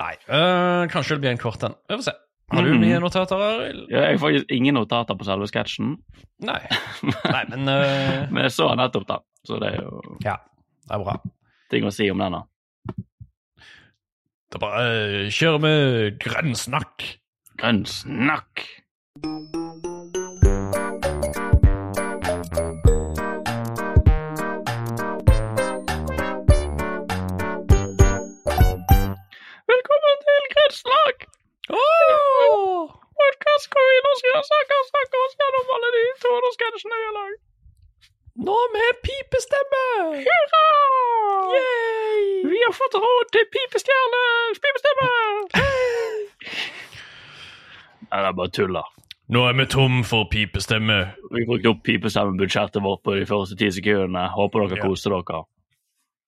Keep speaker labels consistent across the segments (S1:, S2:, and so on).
S1: Nei. Øh, kanskje det blir en kort en. Vi får se. Har du
S2: Mhm.
S1: mye notater, Arild?
S2: Ja, Jeg har faktisk ingen notater på selve sketsjen,
S1: Nei. Nei, men øh,
S2: men jeg så den nettopp, da. Så det er jo
S1: Ja, det er bra.
S2: ting å si om den, da.
S1: Da bare øh, kjører vi grønn snakk.
S2: Grønn snakk! Velkommen til Grønn snakk!
S1: Åh!
S2: Podkast hvor vi norske saker snakker oss gjennom alle de 200 sketsjene vi har lagd.
S1: Nå med pipestemme!
S2: Hurra!
S1: Yay!
S2: Vi har fått råd til pipestjerne! Pipestemme! Nei, det er bare tull, da.
S1: Nå er vi tom for pipestemme.
S2: Vi brukte opp pipestemmebudsjettet vårt på de første ti sekundene. Håper dere
S1: Ja.
S2: koste dere.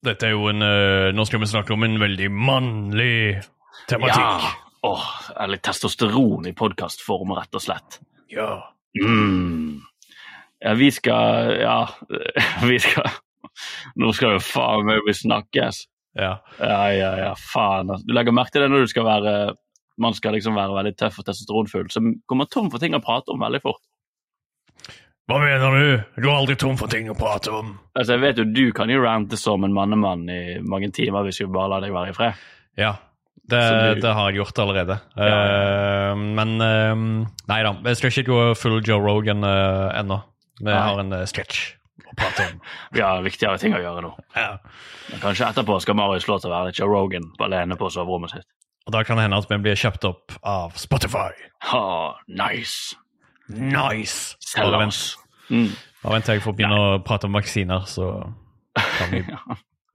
S1: Dette er jo en øh, Nå skal vi snakke om en veldig mannlig tematikk.
S2: Ja. Åh, eller testosteron i podkastform, rett og slett.
S1: Ja.
S2: Mm. Ja, vi skal Ja, vi skal Nå skal jo faen meg vi snakkes.
S1: ja.
S2: Ja, ja, ja, faen. altså. Du legger merke til det når du skal være man skal liksom være veldig tøff og testosteronfull, så kommer man tom for ting å prate om veldig fort.
S1: Hva mener du? Du er aldri tom for ting å prate om.
S2: Altså, Jeg vet jo du kan jo rante som en mannemann i mange timer hvis vi bare lar deg være i fred.
S1: Ja, det,
S2: Så du-
S1: det har jeg gjort allerede.
S2: Ja, ja.
S1: Eh, men eh, nei da, jeg skal ikke gå full Joe Rogan eh, ennå. Vi
S2: Nei.
S1: har en uh, sketsj å prate om.
S2: Vi har viktigere ting å gjøre nå.
S1: ja.
S2: Men kanskje etterpå skal Marius slå til å være litt Joe Rogan alene på soverommet sitt.
S1: Og da kan det hende at vi blir kjøpt opp av Spotify.
S2: Ha, nice!
S1: Nice!
S2: Selg
S1: Bare vent,
S2: oss. Mm.
S1: bare vent til jeg får begynne å prate om vaksiner, så kan vi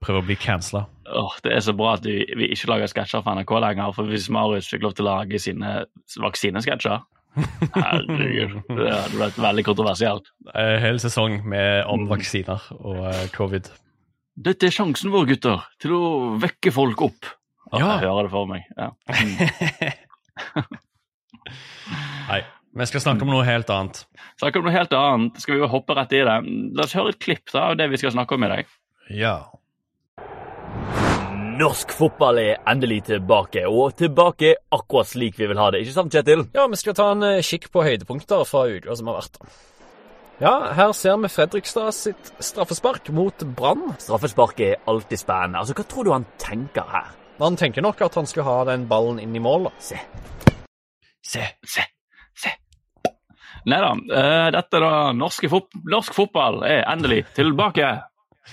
S1: prøve å bli cancela.
S2: Åh, det er så bra at vi, vi ikke lager sketsjer for NRK lenger. For hvis Marius fikk lov til å lage sine vaksinesketsjer Herregud. Det hadde vært veldig kontroversielt.
S1: Uh, Hele sesong med om
S2: Mm.
S1: vaksiner og eh, covid.
S2: Dette er sjansen vår, gutter, til å vekke folk opp. Åh,
S1: Ja.
S2: Jeg hører det for meg. Ja.
S1: Nei, vi skal snakke om noe helt annet.
S2: Snakke om noe helt annet. Skal vi bare hoppe rett i det? La oss høre et klipp da, av det vi skal snakke om i dag.
S1: Ja.
S3: Norsk fotball er endelig tilbake, og tilbake akkurat slik vi vil ha det. Ikke sant, Kjetil?
S4: Ja, vi skal ta en eh, kikk på høydepunkter fra uka som har vært. da. Ja, her ser vi Fredrikstad sitt straffespark mot Brann.
S3: Straffespark er alltid spennende. Altså, Hva tror du han tenker her?
S4: Han tenker nok at han skulle ha den ballen inn i mål. da.
S3: Se,
S1: Se.
S2: Se, se. Nei da. eh, dette er da norske fot Norsk fotball er endelig tilbake.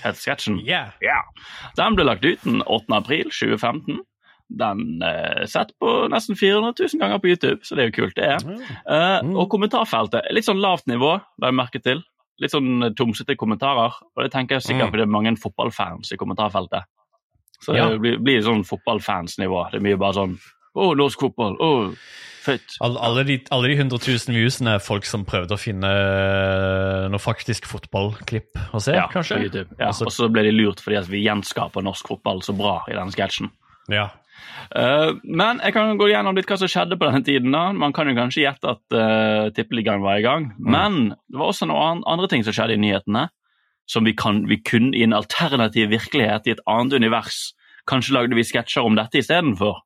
S2: Het sketsjen.
S1: Yeah.
S2: Ja. Den ble lagt ut den 8. april 2015. Den er sett på nesten 400 000 ganger på YouTube, så det er jo kult, det. er. Eh,
S1: Mm.
S2: Og kommentarfeltet er litt sånn lavt nivå, la jeg merke til. Litt sånn eh, tomsete kommentarer. Og det tenker jeg sikkert
S1: Mm.
S2: fordi det er mange fotballfans i kommentarfeltet. Så
S1: Ja.
S2: det blir, blir sånn fotballfansnivå. Det er mye bare sånn Å, norsk fotball! Å, fett!
S1: Alle, alle, de, alle de 100 000 viewsene er folk som prøvde å finne eh, noe faktisk fotballklipp å se,
S2: Ja,
S1: kanskje?
S2: på YouTube. Ja,
S1: Altså-
S2: og så ble de lurt fordi at vi gjenskaper norsk fotball så bra i denne sketsjen.
S1: Ja.
S2: Eh, men jeg kan gå gjennom litt hva som skjedde på denne tiden. da. Man kan jo kanskje gjette at uh, tippeligaen var i gang. Men det var også noen andre ting som skjedde i nyhetene. Som vi, kan, vi kun i en alternativ virkelighet, i et annet univers. Kanskje lagde vi sketsjer om dette istedenfor.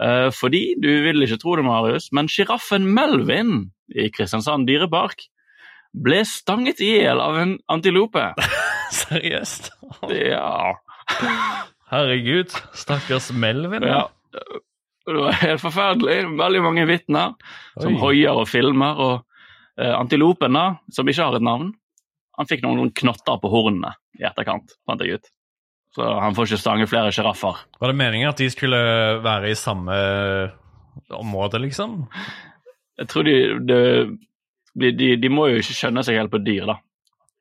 S2: Uh, fordi, du vil ikke tro det, Marius, men sjiraffen Melvin i Kristiansand dyrepark ble stanget i hjel av en antilope.
S1: Seriøst?
S2: Ja.
S1: Herregud, stakkars Melvin.
S2: ja. Det var helt forferdelig. Veldig mange vitner som
S1: Oi.
S2: hoier og filmer. Og eh, antilopen, da, som ikke har et navn, han fikk noen, noen knotter på hornene i etterkant, fant jeg ut. Så han får ikke stange flere sjiraffer.
S1: Var det meningen at de skulle være i samme område, liksom?
S2: Jeg tror de, de, de, de må jo ikke skjønne seg helt på dyr, da.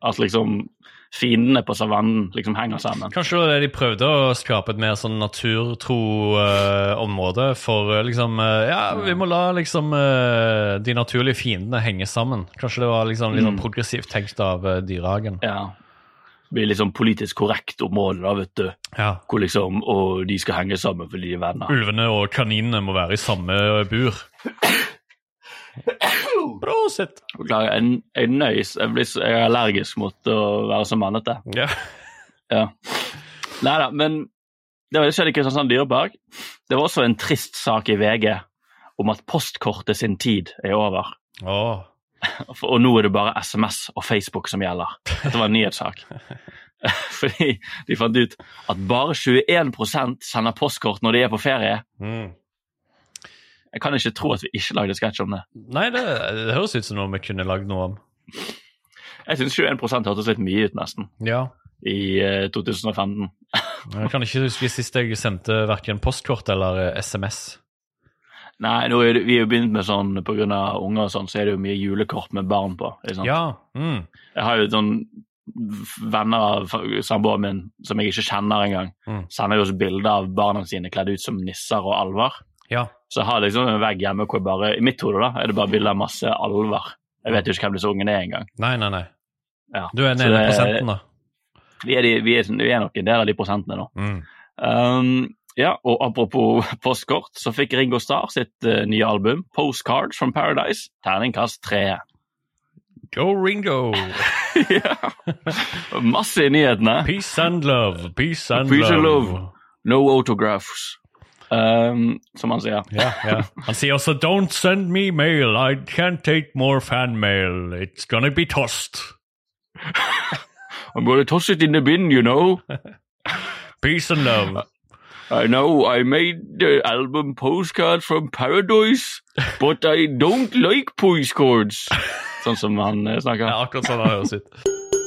S2: At liksom fiendene på savannen liksom henger sammen.
S1: Kanskje det var det de prøvde å skape et mer sånn naturtro eh, område for eh, liksom eh, Ja, vi må la liksom eh, de naturlige fiendene henge sammen. Kanskje det var liksom litt sånn
S2: Mm.
S1: progressivt tenkt av uh, dyrehagen.
S2: Ja. Det blir liksom politisk korrekt område, da, vet du.
S1: Ja.
S2: Hvor liksom Og de skal henge sammen fordi de er venner.
S1: Ulvene og kaninene må være i samme eh, bur. Prosit!
S2: Beklager, jeg, jeg nøys. Jeg, blir, så- jeg er allergisk mot å være så mannete.
S1: Ja.
S2: Nei da, men Det var det skjedde i Kristiansand Dyreberg. Det var også en trist sak i VG om at postkortet sin tid er over.
S1: Åh.
S2: Og nå er det bare SMS og Facebook som gjelder. Dette var en nyhetssak. Fordi de fant ut at bare 21 sender postkort når de er på ferie.
S1: Mm.
S2: Jeg kan ikke tro at vi ikke lagde sketsj om det.
S1: Nei, det, det høres ut som noe vi kunne lagd noe om.
S2: Jeg syns 21 hørtes litt mye ut, nesten,
S1: Ja.
S2: i eh, 2015.
S1: Jeg kan ikke huske sist jeg sendte verken postkort eller eh, SMS.
S2: Nei, nå er det, vi er jo begynt med sånn på grunn av unger og sånn, så er det jo mye julekort med barn på. ikke sant?
S1: Ja. Mm.
S2: Jeg har jo sånn venner av samboeren min som jeg ikke kjenner engang,
S1: Mm.
S2: sender jo oss bilder av barna sine kledd ut som nisser og alver.
S1: Ja.
S2: Så jeg har liksom en vegg hjemme hvor jeg bare I mitt hode da, er det bare bilder av masse alver. Jeg vet jo ikke hvem disse ungene er engang.
S1: Nei, nei, nei.
S2: Ja.
S1: Du er den
S2: Så
S1: ene
S2: det-
S1: prosenten, da.
S2: Vi, er de- vi, er- sånn, vi er nok en del av de prosentene nå.
S1: Mm.
S2: Um, ja, og apropos postkort, så fikk Ringo Starr sitt eh, nye album, 'Postcards from Paradise', terningkast tre.
S1: Go Ringo!
S2: Ja. Masse i nyhetene.
S1: Peace and love, peace and
S2: Peace and
S1: love.
S2: love. No autographs, um, som han sier.
S1: Ja, ja. Han sier også 'Don't send me mail, I can't take more fan mail, it's gonna be tossed'.
S2: I'm gonna toss it in the bin, you know.
S1: Peace and love.
S2: I know I made the album Postcard from Paradise, but I don't like postcards. Sånn som han eh, snakker.
S1: Ja, akkurat sånn det høres ut.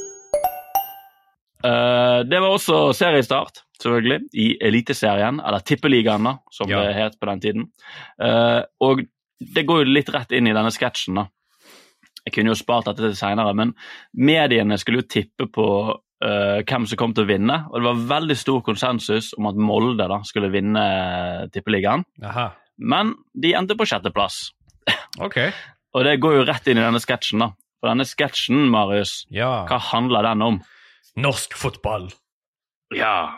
S2: Eh, det var også seriestart, selvfølgelig, i Eliteserien, eller Tippeligaen, da, som
S1: Ja.
S2: det het på den tiden. Eh, og det går jo litt rett inn i denne sketsjen, da. Jeg kunne jo spart dette til seinere, men mediene skulle jo tippe på eh, hvem som kom til å vinne, og det var veldig stor konsensus om at Molde da skulle vinne eh, Tippeligaen,
S1: Aha.
S2: men de endte på sjetteplass.
S1: Ok.
S2: Og det går jo rett inn i denne sketsjen, da. For denne sketsjen, Marius,
S1: Ja.
S2: hva handler den om?
S1: Norsk fotball.
S2: Ja,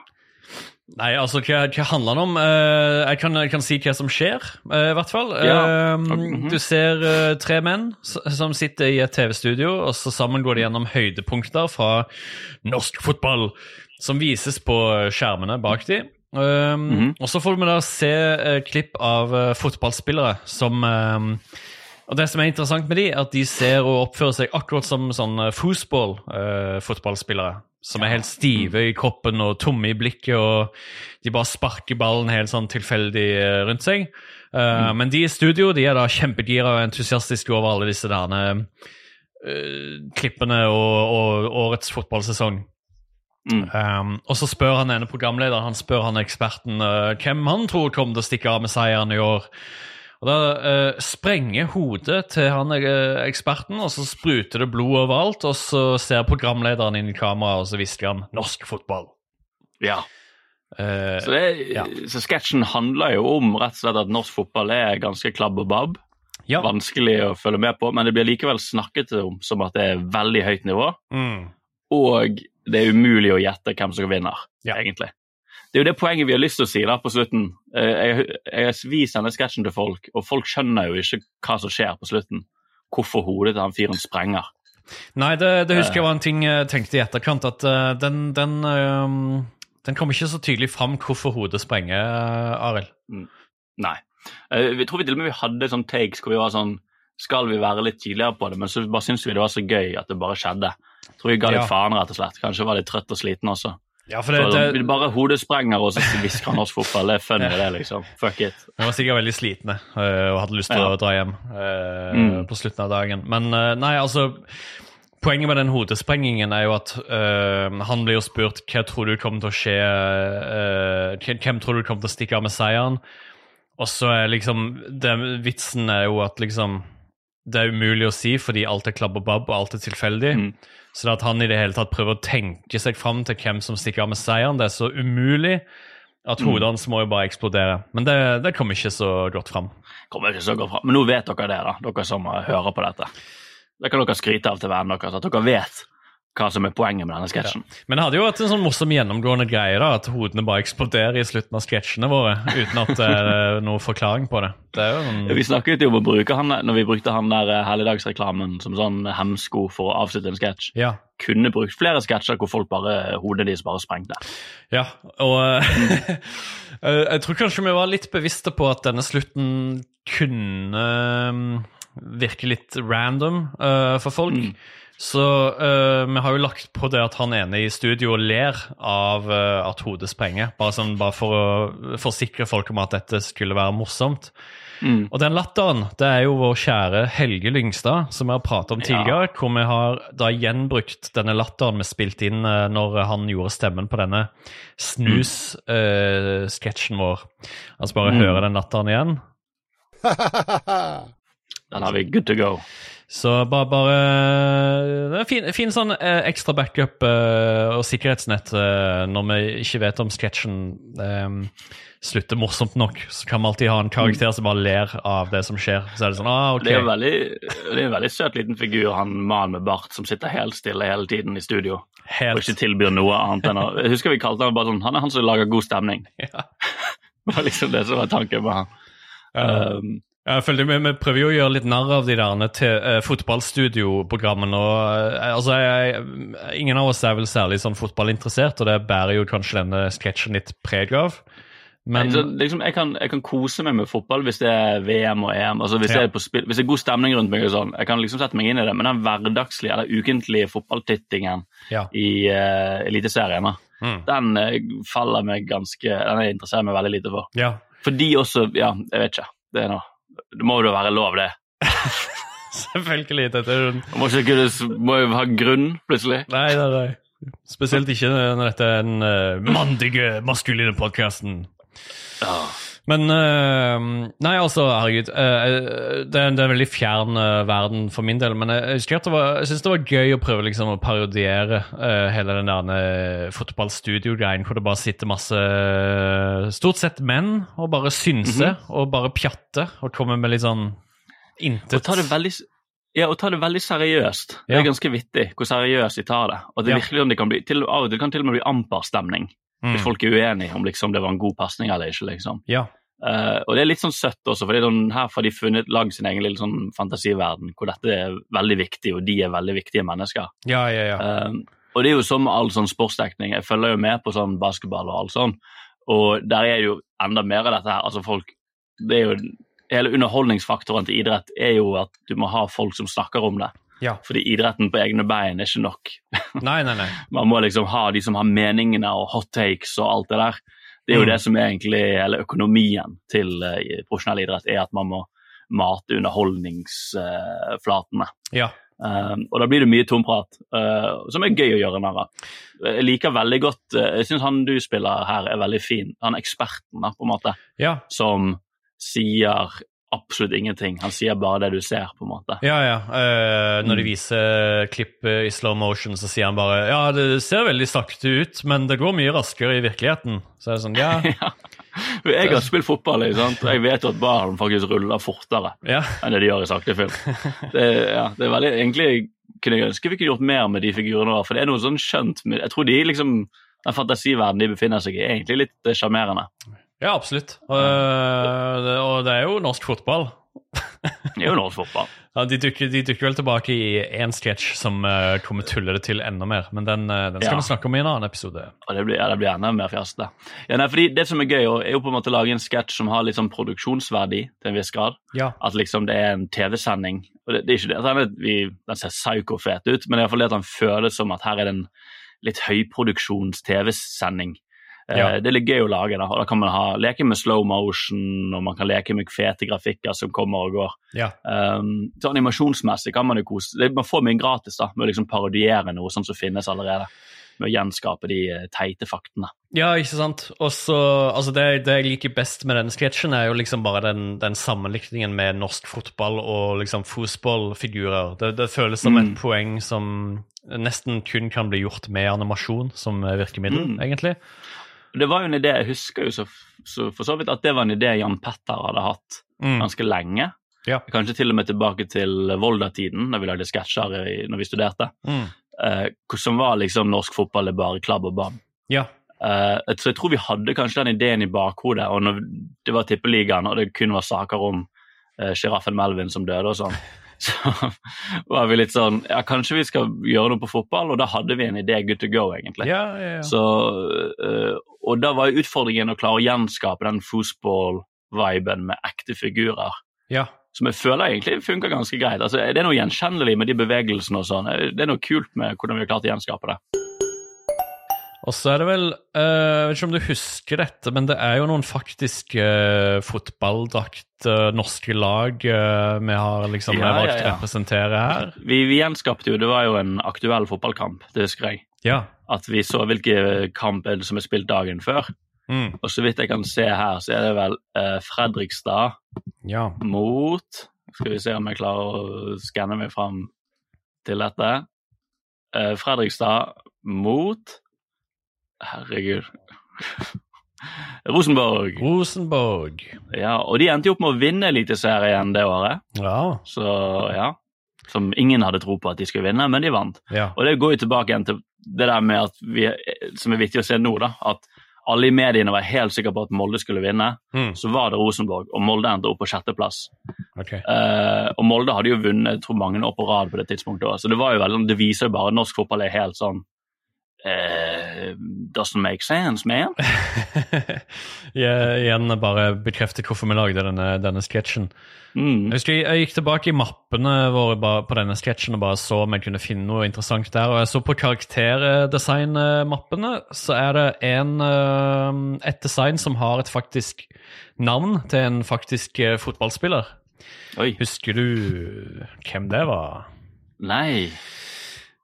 S1: Nei, altså, hva, hva handler det om? Eh, jeg, kan, jeg kan si hva som skjer, eh, i hvert fall.
S2: Ja.
S1: Eh,
S2: Mhm.
S1: Du ser eh, tre menn s- som sitter i et TV-studio, og så sammen går de gjennom høydepunkter fra norsk fotball som vises på skjermene bak de. Eh,
S2: Mhm.
S1: Og så får vi da se eh, klipp av eh, fotballspillere som eh, og Det som er interessant med de, er at de ser og oppfører seg akkurat som sånn foosball-fotballspillere. som er helt stive
S2: Mhm.
S1: i kroppen og tomme i blikket, og de bare sparker ballen helt sånn tilfeldig eh, rundt seg. Eh,
S2: Mm.
S1: Men de i studio de er da kjempegira og entusiastiske over alle disse derne, eh, klippene og, og årets fotballsesong.
S2: Mm.
S1: Um, og så spør han ene programlederen, han spør han eksperten eh, hvem han tror kommer til å stikke av med seieren i år. Og Da eh, sprenger hodet til han eh, eksperten, og så spruter det blod overalt. Og så ser programlederen inn i kameraet, og så hvisker han 'norsk fotball'.
S2: ja.
S1: Eh,
S2: Så, det,
S1: Ja.
S2: så sketsjen handler jo om rett og slett at norsk fotball er ganske klabb og babb.
S1: ja.
S2: Vanskelig å følge med på, men det blir likevel snakket om som at det er veldig høyt nivå.
S1: Mm.
S2: Og det er umulig å gjette hvem som vinner,
S1: Ja.
S2: egentlig. Det er jo det poenget vi har lyst til å si da, på slutten. Eh, Jeg, jeg, vi sender sketsjen til folk, og folk skjønner jo ikke hva som skjer på slutten. Hvorfor hodet til han fyren sprenger.
S1: Nei, det, det husker jeg var en ting jeg tenkte i etterkant, at eh, den, den, eh, den kom ikke så tydelig fram hvorfor hodet sprenger, eh, Arild.
S2: Nei. Eh, Vi tror vi til og med vi hadde sånn takes hvor vi var sånn Skal vi være litt tydeligere på det? Men så bare syntes vi det var så gøy at det bare skjedde. Jeg tror vi ga litt
S1: Ja.
S2: faen, rett og slett. Kanskje var litt trøtt og sliten også.
S1: Ja, for
S2: Det,
S1: det, det,
S2: bare hodet sprenger, og så hvisker han norsk fotball. Det er funny, det, liksom. Fuck it.
S1: Vi var sikkert veldig slitne eh, og hadde lyst til
S2: Ja.
S1: å dra hjem eh,
S2: Mm.
S1: på slutten av dagen. Men eh, nei, altså Poenget med den hodesprengingen er jo at eh, han blir jo spurt hva tror du kommer til å skje eh, hvem- Hvem tror du kommer til å stikke av med seieren? Og så er liksom det, Vitsen er jo at liksom det er umulig å si fordi alt er klabb og babb, og alt er tilfeldig.
S2: Mm.
S1: Så det at han i det hele tatt prøver å tenke seg fram til hvem som stikker av med seieren, det er så umulig at
S2: Mm.
S1: hodet hans må jo bare eksplodere. Men det, det kom ikke så godt fram.
S2: Kommer ikke så godt fra. Men nå vet dere det, da, dere som eh, hører på dette. Det kan dere skryte av til vennene deres, at dere vet hva som er poenget med denne sketsjen.
S1: Men det hadde jo vært en sånn morsom gjennomgående greie, da, at hodene bare eksploderer i slutten av sketsjene våre, uten at det er noen forklaring på det. Det er jo
S2: Vi
S1: en...
S2: snakket jo om å bruke han når vi brukte han der eh, helligdagsreklamen som sånn hemsko for å avslutte en sketsj.
S1: Ja.
S2: kunne brukt flere sketsjer hvor folk bare, hodet deres bare sprengte.
S1: Ja, og eh, eh, jeg tror kanskje vi var litt bevisste på at denne slutten kunne mm, virke litt random eh, for folk.
S2: Mm.
S1: Så eh, vi har jo lagt på det at han ene i studio ler av eh, at hodet sprenger. Bare, sånn, bare for å forsikre folk om at dette skulle være morsomt.
S2: Mm.
S1: Og den latteren, det er jo vår kjære Helge Lyngstad, som vi har pratet om
S2: Ja.
S1: tidligere, hvor vi har da gjenbrukt denne latteren vi spilte inn eh, når han gjorde stemmen på denne snus-sketsjen vår. Altså bare
S2: Mm.
S1: høre den latteren igjen.
S2: Den har vi good to go.
S1: Så bare, bare det er fin, fin sånn eh, ekstra backup eh, og sikkerhetsnett eh, når vi ikke vet om sketsjen eh, slutter morsomt nok. Så kan vi alltid ha en karakter som bare ler av det som skjer. Så er det sånn, ah, ok.
S2: Mm. Det er jo veldig, det er en veldig søt liten figur, han mannen med bart som sitter helt stille hele tiden i studio og
S1: Helt
S2: ikke tilbyr noe annet enn å Jeg husker vi kalte han bare sånn Han er han som lager god stemning.
S1: Ja.
S2: Det var liksom det som var tanken med han.
S1: eh,
S2: Um,
S1: Ja, Jeg føler vi, vi prøver jo å gjøre litt narr av de der til eh, fotballstudioprogrammene. og, eh, altså, jeg, jeg, ingen av oss er vel særlig sånn fotballinteressert, og det bærer jo kanskje denne sketsjen litt preg av. Men
S2: så liksom, jeg, kan, jeg kan kose meg med fotball hvis det er VM og EM. altså Hvis,
S1: Ja.
S2: det, er på spill, hvis det er god stemning rundt meg, og sånn, jeg kan liksom sette meg inn i det. Men den hverdagslige eller ukentlige fotballtittingen
S1: ja.
S2: i uh, Eliteserien, da,
S1: Mm.
S2: den eh, faller meg ganske Den jeg interesserer meg veldig lite for.
S1: ja.
S2: Fordi også Ja, jeg vet ikke. Det, er noe. det må jo være lov, det.
S1: Selvfølgelig. Dette er jo en-
S2: Man må ikke kunne s- må jo ha grunn, plutselig.
S1: Nei, nei, nei. Spesielt ikke når dette er den eh, mandige, maskuline podkasten.
S2: Ja.
S1: Men eh, Nei, altså, herregud. eh, det, er en, det er en veldig fjern eh, verden for min del. Men jeg, jeg, husker at det var- jeg syns det var gøy å prøve liksom, å parodiere eh, hele den der eh, fotballstudio-greien hvor det bare sitter masse eh, Stort sett menn og bare synser og bare pjatter og kommer med litt sånn
S2: Mhm. Og
S1: intet
S2: ta det veldig, s- ja, og ta det veldig seriøst. Det
S1: Ja.
S2: er ganske vittig hvor seriøst de tar det. Og det
S1: Ja.
S2: er virkelig om det kan bli, til, av og til kan til og med bli amper-stemning.
S1: Mm.
S2: Hvis folk er uenige om liksom, det var en god pasning eller ikke. liksom.
S1: Ja.
S2: Eh, og det er litt sånn søtt også, for det er sånn, her får de funnet lag sin egen lille sånn fantasiverden hvor dette er veldig viktig, og de er veldig viktige mennesker.
S1: ja, ja, ja.
S2: Eh, og det er jo som med all sånn sportsdekning. Jeg følger jo med på sånn basketball og alt sånn, og der er det jo enda mer av dette her. Altså folk, det er jo, Hele underholdningsfaktoren til idrett er jo at du må ha folk som snakker om det.
S1: Ja.
S2: Fordi idretten på egne bein er ikke nok.
S1: Nei, nei, nei.
S2: Man må liksom ha de som har meningene og hot takes og alt det der. Det er jo
S1: Mm.
S2: det som er egentlig hele økonomien til eh, profesjonell idrett, er at man må mate underholdningsflatene.
S1: Ja.
S2: Eh, og da blir det mye tomprat, eh, som er gøy å gjøre narr av. Jeg liker veldig godt eh, Jeg syns han du spiller her, er veldig fin. Han er eksperten, da, på en måte,
S1: Ja,
S2: som sier absolutt ingenting. Han sier bare det du ser, på en måte.
S1: Ja, ja. eh, når de
S2: Mm.
S1: viser klippet i slow motion, så sier han bare Ja, det ser veldig sakte ut, men det går mye raskere i virkeligheten. Så er det sånn, ja,
S2: Ja. Jeg har spilt fotball, ikke sant? og jeg vet jo at ballen faktisk ruller fortere
S1: ja.
S2: enn det de gjør i sakte film. Det, er- ja, det er veldig, egentlig kunne jeg ønske vi kunne gjort mer med de figurene. der, For det er noe sånn skjønt med Jeg tror de liksom den fantasiverdenen de befinner seg i, er egentlig litt eh, sjarmerende.
S1: Ja, absolutt. Eh, det, og det er jo norsk fotball.
S2: Det er jo norsk fotball.
S1: Ja, de, dukker, de dukker vel tilbake i én sketsj som eh, kommer tulle det til enda mer, men den, eh, den skal
S2: Ja.
S1: vi snakke om i en annen episode.
S2: Og det blir, ja, det blir enda mer fjasete. Ja, nei, fordi det som er gøy, er jo på en måte å lage en sketsj som har litt sånn produksjonsverdi til en viss grad.
S1: Ja.
S2: At liksom det er en TV-sending. Og det, det er ikke det at den, er, vi, den ser psykofet ut, men det er iallfall det at den føles som at her er det en litt høyproduksjons TV-sending. Eh,
S1: Ja.
S2: Det er litt gøy å lage, da. Og da kan man ha, leke med slow motion, og man kan leke med fete grafikker som kommer og går.
S1: Ja.
S2: Um, så animasjonsmessig kan man jo kose det- Man får mye gratis da, med å liksom parodiere noe sånt som finnes allerede. Med å gjenskape de eh, teite faktene.
S1: Ja, ikke sant. Og så, altså det, det jeg liker best med den sketsjen, er jo liksom bare den, den sammenlikningen med norsk fotball og liksom fotballfigurer. Det, det føles som et
S2: Mm.
S1: poeng som nesten kun kan bli gjort med animasjon som virkemiddel,
S2: Mm.
S1: egentlig.
S2: Det var jo en idé, jeg husker jo så, så for så vidt at det var en idé Jan Petter hadde hatt
S1: Mm.
S2: ganske lenge.
S1: Ja.
S2: Kanskje til og med tilbake til Volda-tiden, da vi lagde sketsjer i- når vi studerte.
S1: Mm.
S2: Eh, hvor- som var liksom norsk fotball er bare klabb og babb.
S1: Ja.
S2: Eh, så jeg tror vi hadde kanskje den ideen i bakhodet, og når det var tippeligaen og det kun var saker om sjiraffen Melvin eh, som døde og sånn, Så var vi litt sånn Ja, kanskje vi skal gjøre noe på fotball? Og da hadde vi en idé, good to go, egentlig.
S1: Ja, ja, ja.
S2: Så, øh, og da var jo utfordringen å klare å gjenskape den fotball-viben med ekte figurer.
S1: ja.
S2: Som jeg føler egentlig funker ganske greit. Altså, det er noe gjenkjennelig med de bevegelsene og sånn. Det er noe kult med hvordan vi har klart å gjenskape det.
S1: Og så er det vel eh, Jeg vet ikke om du husker dette, men det er jo noen faktiske eh, fotballdrakt eh, norske lag eh, vi har liksom
S2: Ja, ja,
S1: valgt å
S2: ja.
S1: representere her.
S2: Vi, vi gjenskapte jo, det var jo en aktuell fotballkamp, det husker jeg.
S1: Ja.
S2: At vi så hvilke kamp er det som er spilt dagen før.
S1: Mm.
S2: Og så vidt jeg kan se her, så er det vel eh, Fredrikstad
S1: ja.
S2: mot Skal vi se om jeg klarer å skanne meg fram til dette. Eh, Fredrikstad mot Herregud. Rosenborg.
S1: Rosenborg.
S2: Ja, og de endte jo opp med å vinne Eliteserien det året,
S1: Ja.
S2: så ja. Som ingen hadde tro på at de skulle vinne, men de vant.
S1: ja.
S2: Og det går jo tilbake igjen til det der med at vi, som er viktig å se nå, da, at alle i mediene var helt sikre på at Molde skulle vinne.
S1: Mm.
S2: Så var det Rosenborg, og Molde endte opp på sjetteplass.
S1: Ok.
S2: Eh, og Molde hadde jo vunnet jeg tror mange år på rad på det tidspunktet òg, så det, var jo veldig, det viser jo bare at norsk fotball er helt sånn eh, Doesn't make sense, man.
S1: Jeg, igjen bare bekrefte hvorfor vi lagde denne, denne sketsjen.
S2: Mm.
S1: Jeg husker jeg, jeg gikk tilbake i mappene våre bare, på denne sketsjen og bare så om jeg kunne finne noe interessant der. Og jeg så på karakterdesignmappene, så er det en, eh, et design som har et faktisk navn til en faktisk eh, fotballspiller.
S2: Oi.
S1: Husker du hvem det var?
S2: Nei.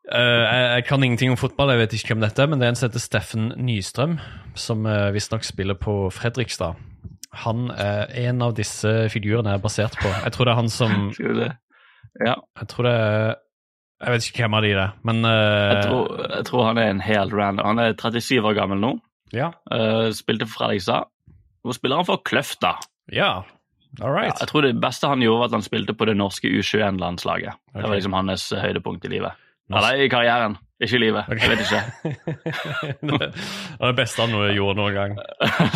S1: Eh, jeg, jeg kan ingenting om fotball, jeg vet ikke hvem dette er, men det er en som heter Steffen Nystrøm, som uh, visstnok spiller på Fredrikstad. Han er en av disse figurene jeg er basert på. Jeg tror det er han som
S2: Skal vi se.
S1: Jeg tror det er Jeg vet ikke hvem av de det er, men eh,
S2: Jeg tror, jeg tror han er en helt random. Han er 37 år gammel nå.
S1: Ja.
S2: Eh, spilte for Fredrikstad. Nå spiller han for Kløfta.
S1: ja. All
S2: Ja,
S1: right.
S2: jeg tror det beste han gjorde, var at han spilte på det norske U21-landslaget. Det
S1: Ok.
S2: var liksom hans høydepunkt i livet.
S1: Norsk-
S2: Eller i karrieren, ikke i livet.
S1: Ok.
S2: Jeg vet ikke.
S1: det var det beste han noe gjorde noen gang.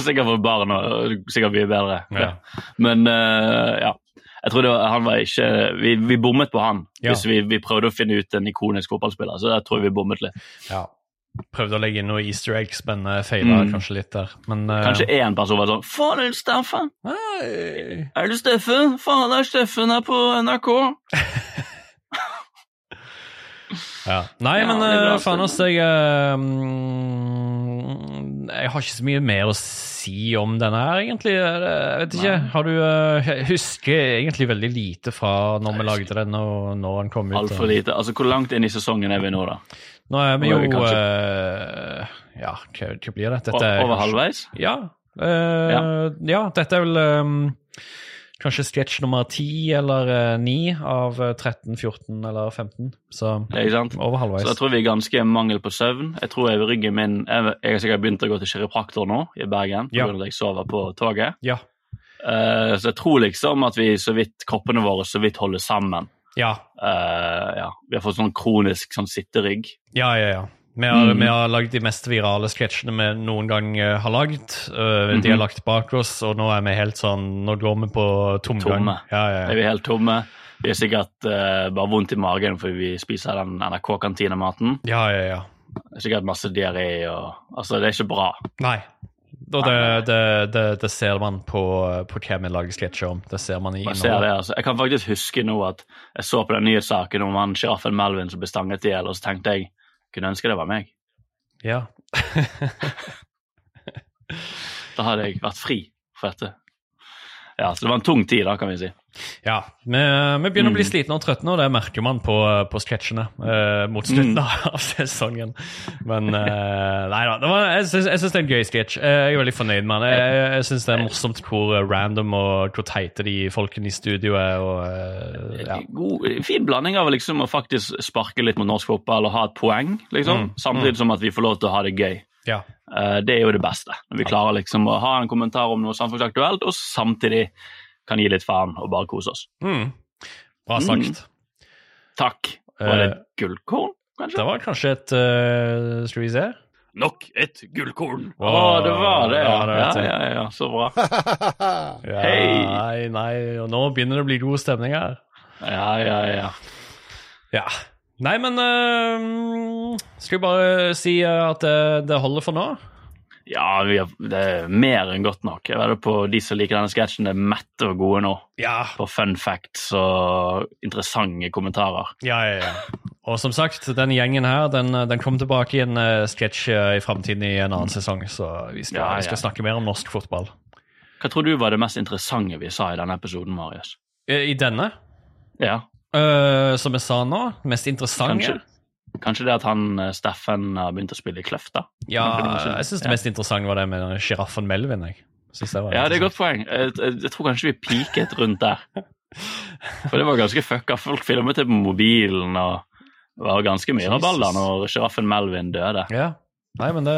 S2: sikkert for barn og sikkert mye bedre.
S1: Ja.
S2: Ja. Men eh, ja. Jeg tror det var, han var ikke Vi, vi bommet på han
S1: Ja.
S2: hvis vi, vi prøvde å finne ut en ikonisk fotballspiller. Så der tror jeg vi bommet litt.
S1: Ja. Prøvde å legge inn noe easter eggs, men uh, feila
S2: Mm.
S1: kanskje litt der. Men eh,
S2: Kanskje én person var sånn Faen, er det Steffen?
S1: Nei.
S2: Er det Steffen? Faen, det er Steffen her på NRK.
S1: Ja. Nei,
S2: Ja,
S1: men
S2: det er bra.
S1: eh,
S2: altså.
S1: faen ass, jeg eh, mm, Jeg har ikke så mye mer å si om denne her, egentlig. Jeg vet ikke.
S2: Nei.
S1: Har du eh, Jeg husker egentlig veldig lite fra når vi
S2: Nei, jeg
S1: lagde den, og når den kom ut. og-
S2: Altfor lite. Altså, hvor langt inn i sesongen er vi nå, da?
S1: Nå er vi
S2: Nå
S1: jo
S2: er vi kanskje-
S1: eh, Ja, hva, hva blir det? Dette er
S2: O- Over
S1: kanskje-
S2: halvveis?
S1: Ja, eh, ja. dette er vel eh, kanskje sketsj nummer 10 eller eh, 9 av eh, 13, 14 eller 15. Så
S2: Ikke sant?
S1: over halvveis.
S2: Så jeg tror vi er ganske mangel på søvn. Jeg tror jeg ryggen min Jeg jeg har sikkert begynt å gå til kiropraktor nå i Bergen
S1: Ja.
S2: pga. at jeg sover på toget.
S1: Ja.
S2: Eh, så jeg tror liksom at vi så vidt kroppene våre så vidt holder sammen.
S1: ja.
S2: Eh, ja. Vi har fått sånn kronisk sånn sitterygg.
S1: Ja, ja, ja. Vi har,
S2: Mm.
S1: vi har lagd de mest virale sketsjene vi noen gang eh, har lagd. Eh, De
S2: Mhm.
S1: er lagt bak oss, og nå er vi helt sånn Nå går vi på tomgang.
S2: Tomme.
S1: Ja, ja, ja.
S2: Er vi helt tomme? Vi har sikkert eh, bare vondt i magen fordi vi spiser den NRK-kantinematen.
S1: ja, ja, ja.
S2: Sikkert masse diaré og Altså, det er ikke bra.
S1: Nei. Og det, det, det, det ser man på, på hva vi lager sketsjer om. Det ser man i
S2: Jeg, ser det,
S1: innholdet.
S2: altså. jeg kan faktisk huske nå at jeg så på den nyhetssaken om han sjiraffen Melvin som ble stanget i hjel, og så tenkte jeg kunne ønske det var meg.
S1: Ja.
S2: Da hadde jeg vært fri for dette. Ja, Så det var en tung tid, da, kan vi si.
S1: ja. Vi, vi begynner å bli
S2: Mm.
S1: slitne og trøtte nå, det merker man på, på sketsjene eh,
S2: Mm.
S1: mot slutten av sesongen. Men eh, nei da. Det var, jeg syns jeg syns det er en gøy sketsj. Eh, Jeg er veldig fornøyd med den. Jeg, jeg, jeg syns det er morsomt hvor eh, random og hvor teite de folkene i studio er. Og, eh, ja.
S2: God, fin blanding av liksom å faktisk sparke litt mot norsk fotball og ha et poeng, liksom,
S1: Mm,
S2: samtidig som at vi får lov til å ha det gøy.
S1: Ja.
S2: Eh, det er jo det beste. Når vi klarer liksom å ha en kommentar om noe samfunnsaktuelt, og samtidig kan gi litt faen og bare kose oss.
S1: Mm. Bra sagt.
S2: Takk. Var det
S1: Eh,
S2: et gullkorn, kanskje?
S1: Det var kanskje et eh, Skal vi se?
S2: Nok et gullkorn! Å,
S1: Wow.
S2: det var det, ja.
S1: Ja, det
S2: Ja,
S1: vet jeg.
S2: ja, ja, så bra.
S1: Ja,
S2: Hei!
S1: Nei, nei, og nå begynner det å bli god stemning her.
S2: Ja, ja, ja.
S1: Ja. Nei, men eh, Skal vi bare si eh, at det, det holder for nå?
S2: Ja, vi har, det er mer enn godt nok. Jeg vedder på de som liker denne sketsjen, er mette og gode nå.
S1: Ja.
S2: På fun facts og interessante kommentarer.
S1: Ja, ja, ja. Og som sagt, den gjengen her den, den kommer tilbake i en eh, sketsj eh, i framtiden i en annen sesong, så vi skal,
S2: Ja, ja.
S1: vi skal snakke mer om norsk fotball.
S2: Hva tror du var det mest interessante vi sa i denne episoden, Marius?
S1: Eh, I denne,
S2: Ja,
S1: eh, som jeg sa nå, mest interessante
S2: kanskje, kanskje det at han eh, Steffen har begynt å spille i Kløft, da?
S1: Ja,
S2: Kanskje det-
S1: jeg syns det mest interessante var det med den sjiraffen Melvin. jeg. Synes det var
S2: Ja, det er et
S1: interessant.
S2: godt poeng. Jeg, jeg, jeg tror kanskje vi piket rundt der. For det var ganske fucka. Folk filmet det på mobilen, og det var ganske mye rabalder
S1: Jesus.
S2: når sjiraffen Melvin døde.
S1: Ja. Nei, men det,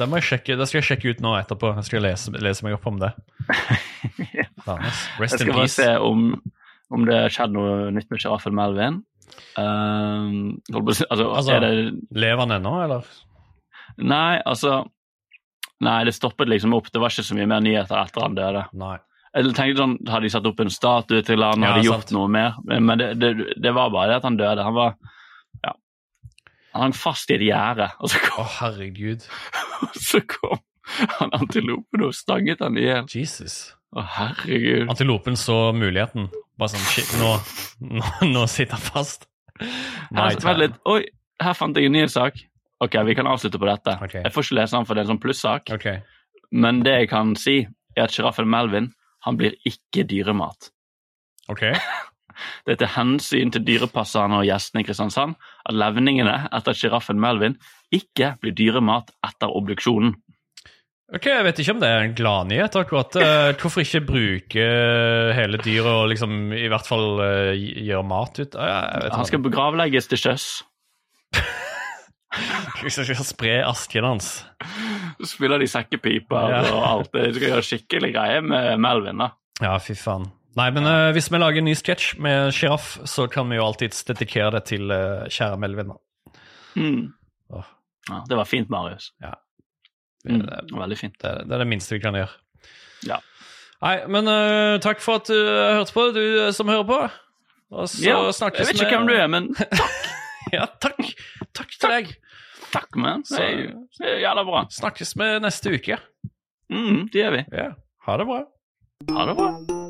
S1: det må jeg sjekke Det skal jeg sjekke ut nå etterpå. Jeg skal lese, lese meg opp om det. Faen, ass.
S2: Jeg
S1: Rest
S2: skal
S1: in
S2: bare se
S1: peace.
S2: om, om det har skjedd noe nytt med sjiraffen Melvin. Ehm, holdt på å si- altså,
S1: Altså-
S2: er det
S1: Lever han ennå, eller?
S2: Nei, altså Nei, det stoppet liksom opp. Det var ikke så mye mer nyheter etter han døde.
S1: Nei.
S2: Jeg tenkte sånn, Hadde de satt opp en statue til han,
S1: Ja,
S2: hadde de
S1: sant.
S2: gjort noe mer? Men men det, det, det var bare det at han døde. Han var ja, han hang fast i et gjerde, og så
S1: Å,
S2: kom,
S1: herregud.
S2: så kom han antilopen og stanget han i hjel.
S1: Jesus.
S2: Å, herregud.
S1: Antilopen så muligheten. Bare sånn shit, nå, nå, nå sitter han fast.
S2: Her, altså, vent litt. Oi, her fant jeg en ny sak. Ok, vi kan avslutte på dette.
S1: Ok.
S2: Jeg får ikke lese den, for det er en sånn plussak.
S1: Ok.
S2: Men det jeg kan si, er at sjiraffen Melvin han blir ikke dyremat.
S1: ok.
S2: Det er til hensyn til dyrepasserne og gjestene i Kristiansand at levningene etter sjiraffen Melvin ikke blir dyremat etter obduksjonen.
S1: Ok, Jeg vet ikke om det er en gladnyhet, akkurat. Eh, Hvorfor ikke bruke eh, hele dyret og liksom i hvert fall eh, gi- gjøre mat ut av Jeg vet
S2: Han skal begravlegges til sjøs.
S1: ikke. Skal ikke spre asken hans.
S2: Så spiller de sekkepiper
S1: Ja.
S2: og alt. De skal gjøre skikkelig greie med Melvin. da.
S1: Ja, fy faen. Nei, men eh, hvis vi lager en ny sketsj med sjiraff, så kan vi jo alltids dedikere det til eh, kjære Melvin. da.
S2: Mm.
S1: Åh.
S2: Ja, det var fint, Marius. Mm.
S1: Det- det-
S2: Veldig fint.
S1: Det, det er det minste vi kan gjøre.
S2: Ja.
S1: Nei, men eh, takk for at du hørte på, du eh, som hører på. Og så
S2: Ja, jeg
S1: snakkes
S2: vet ikke hvem du er, men
S1: Ja, takk. Takk til deg.
S2: takk, man. Det er jo- det er jævla bra.
S1: Snakkes vi neste uke.
S2: Mm, det gjør vi.
S1: Ja. Ha det bra.
S2: Ha det bra.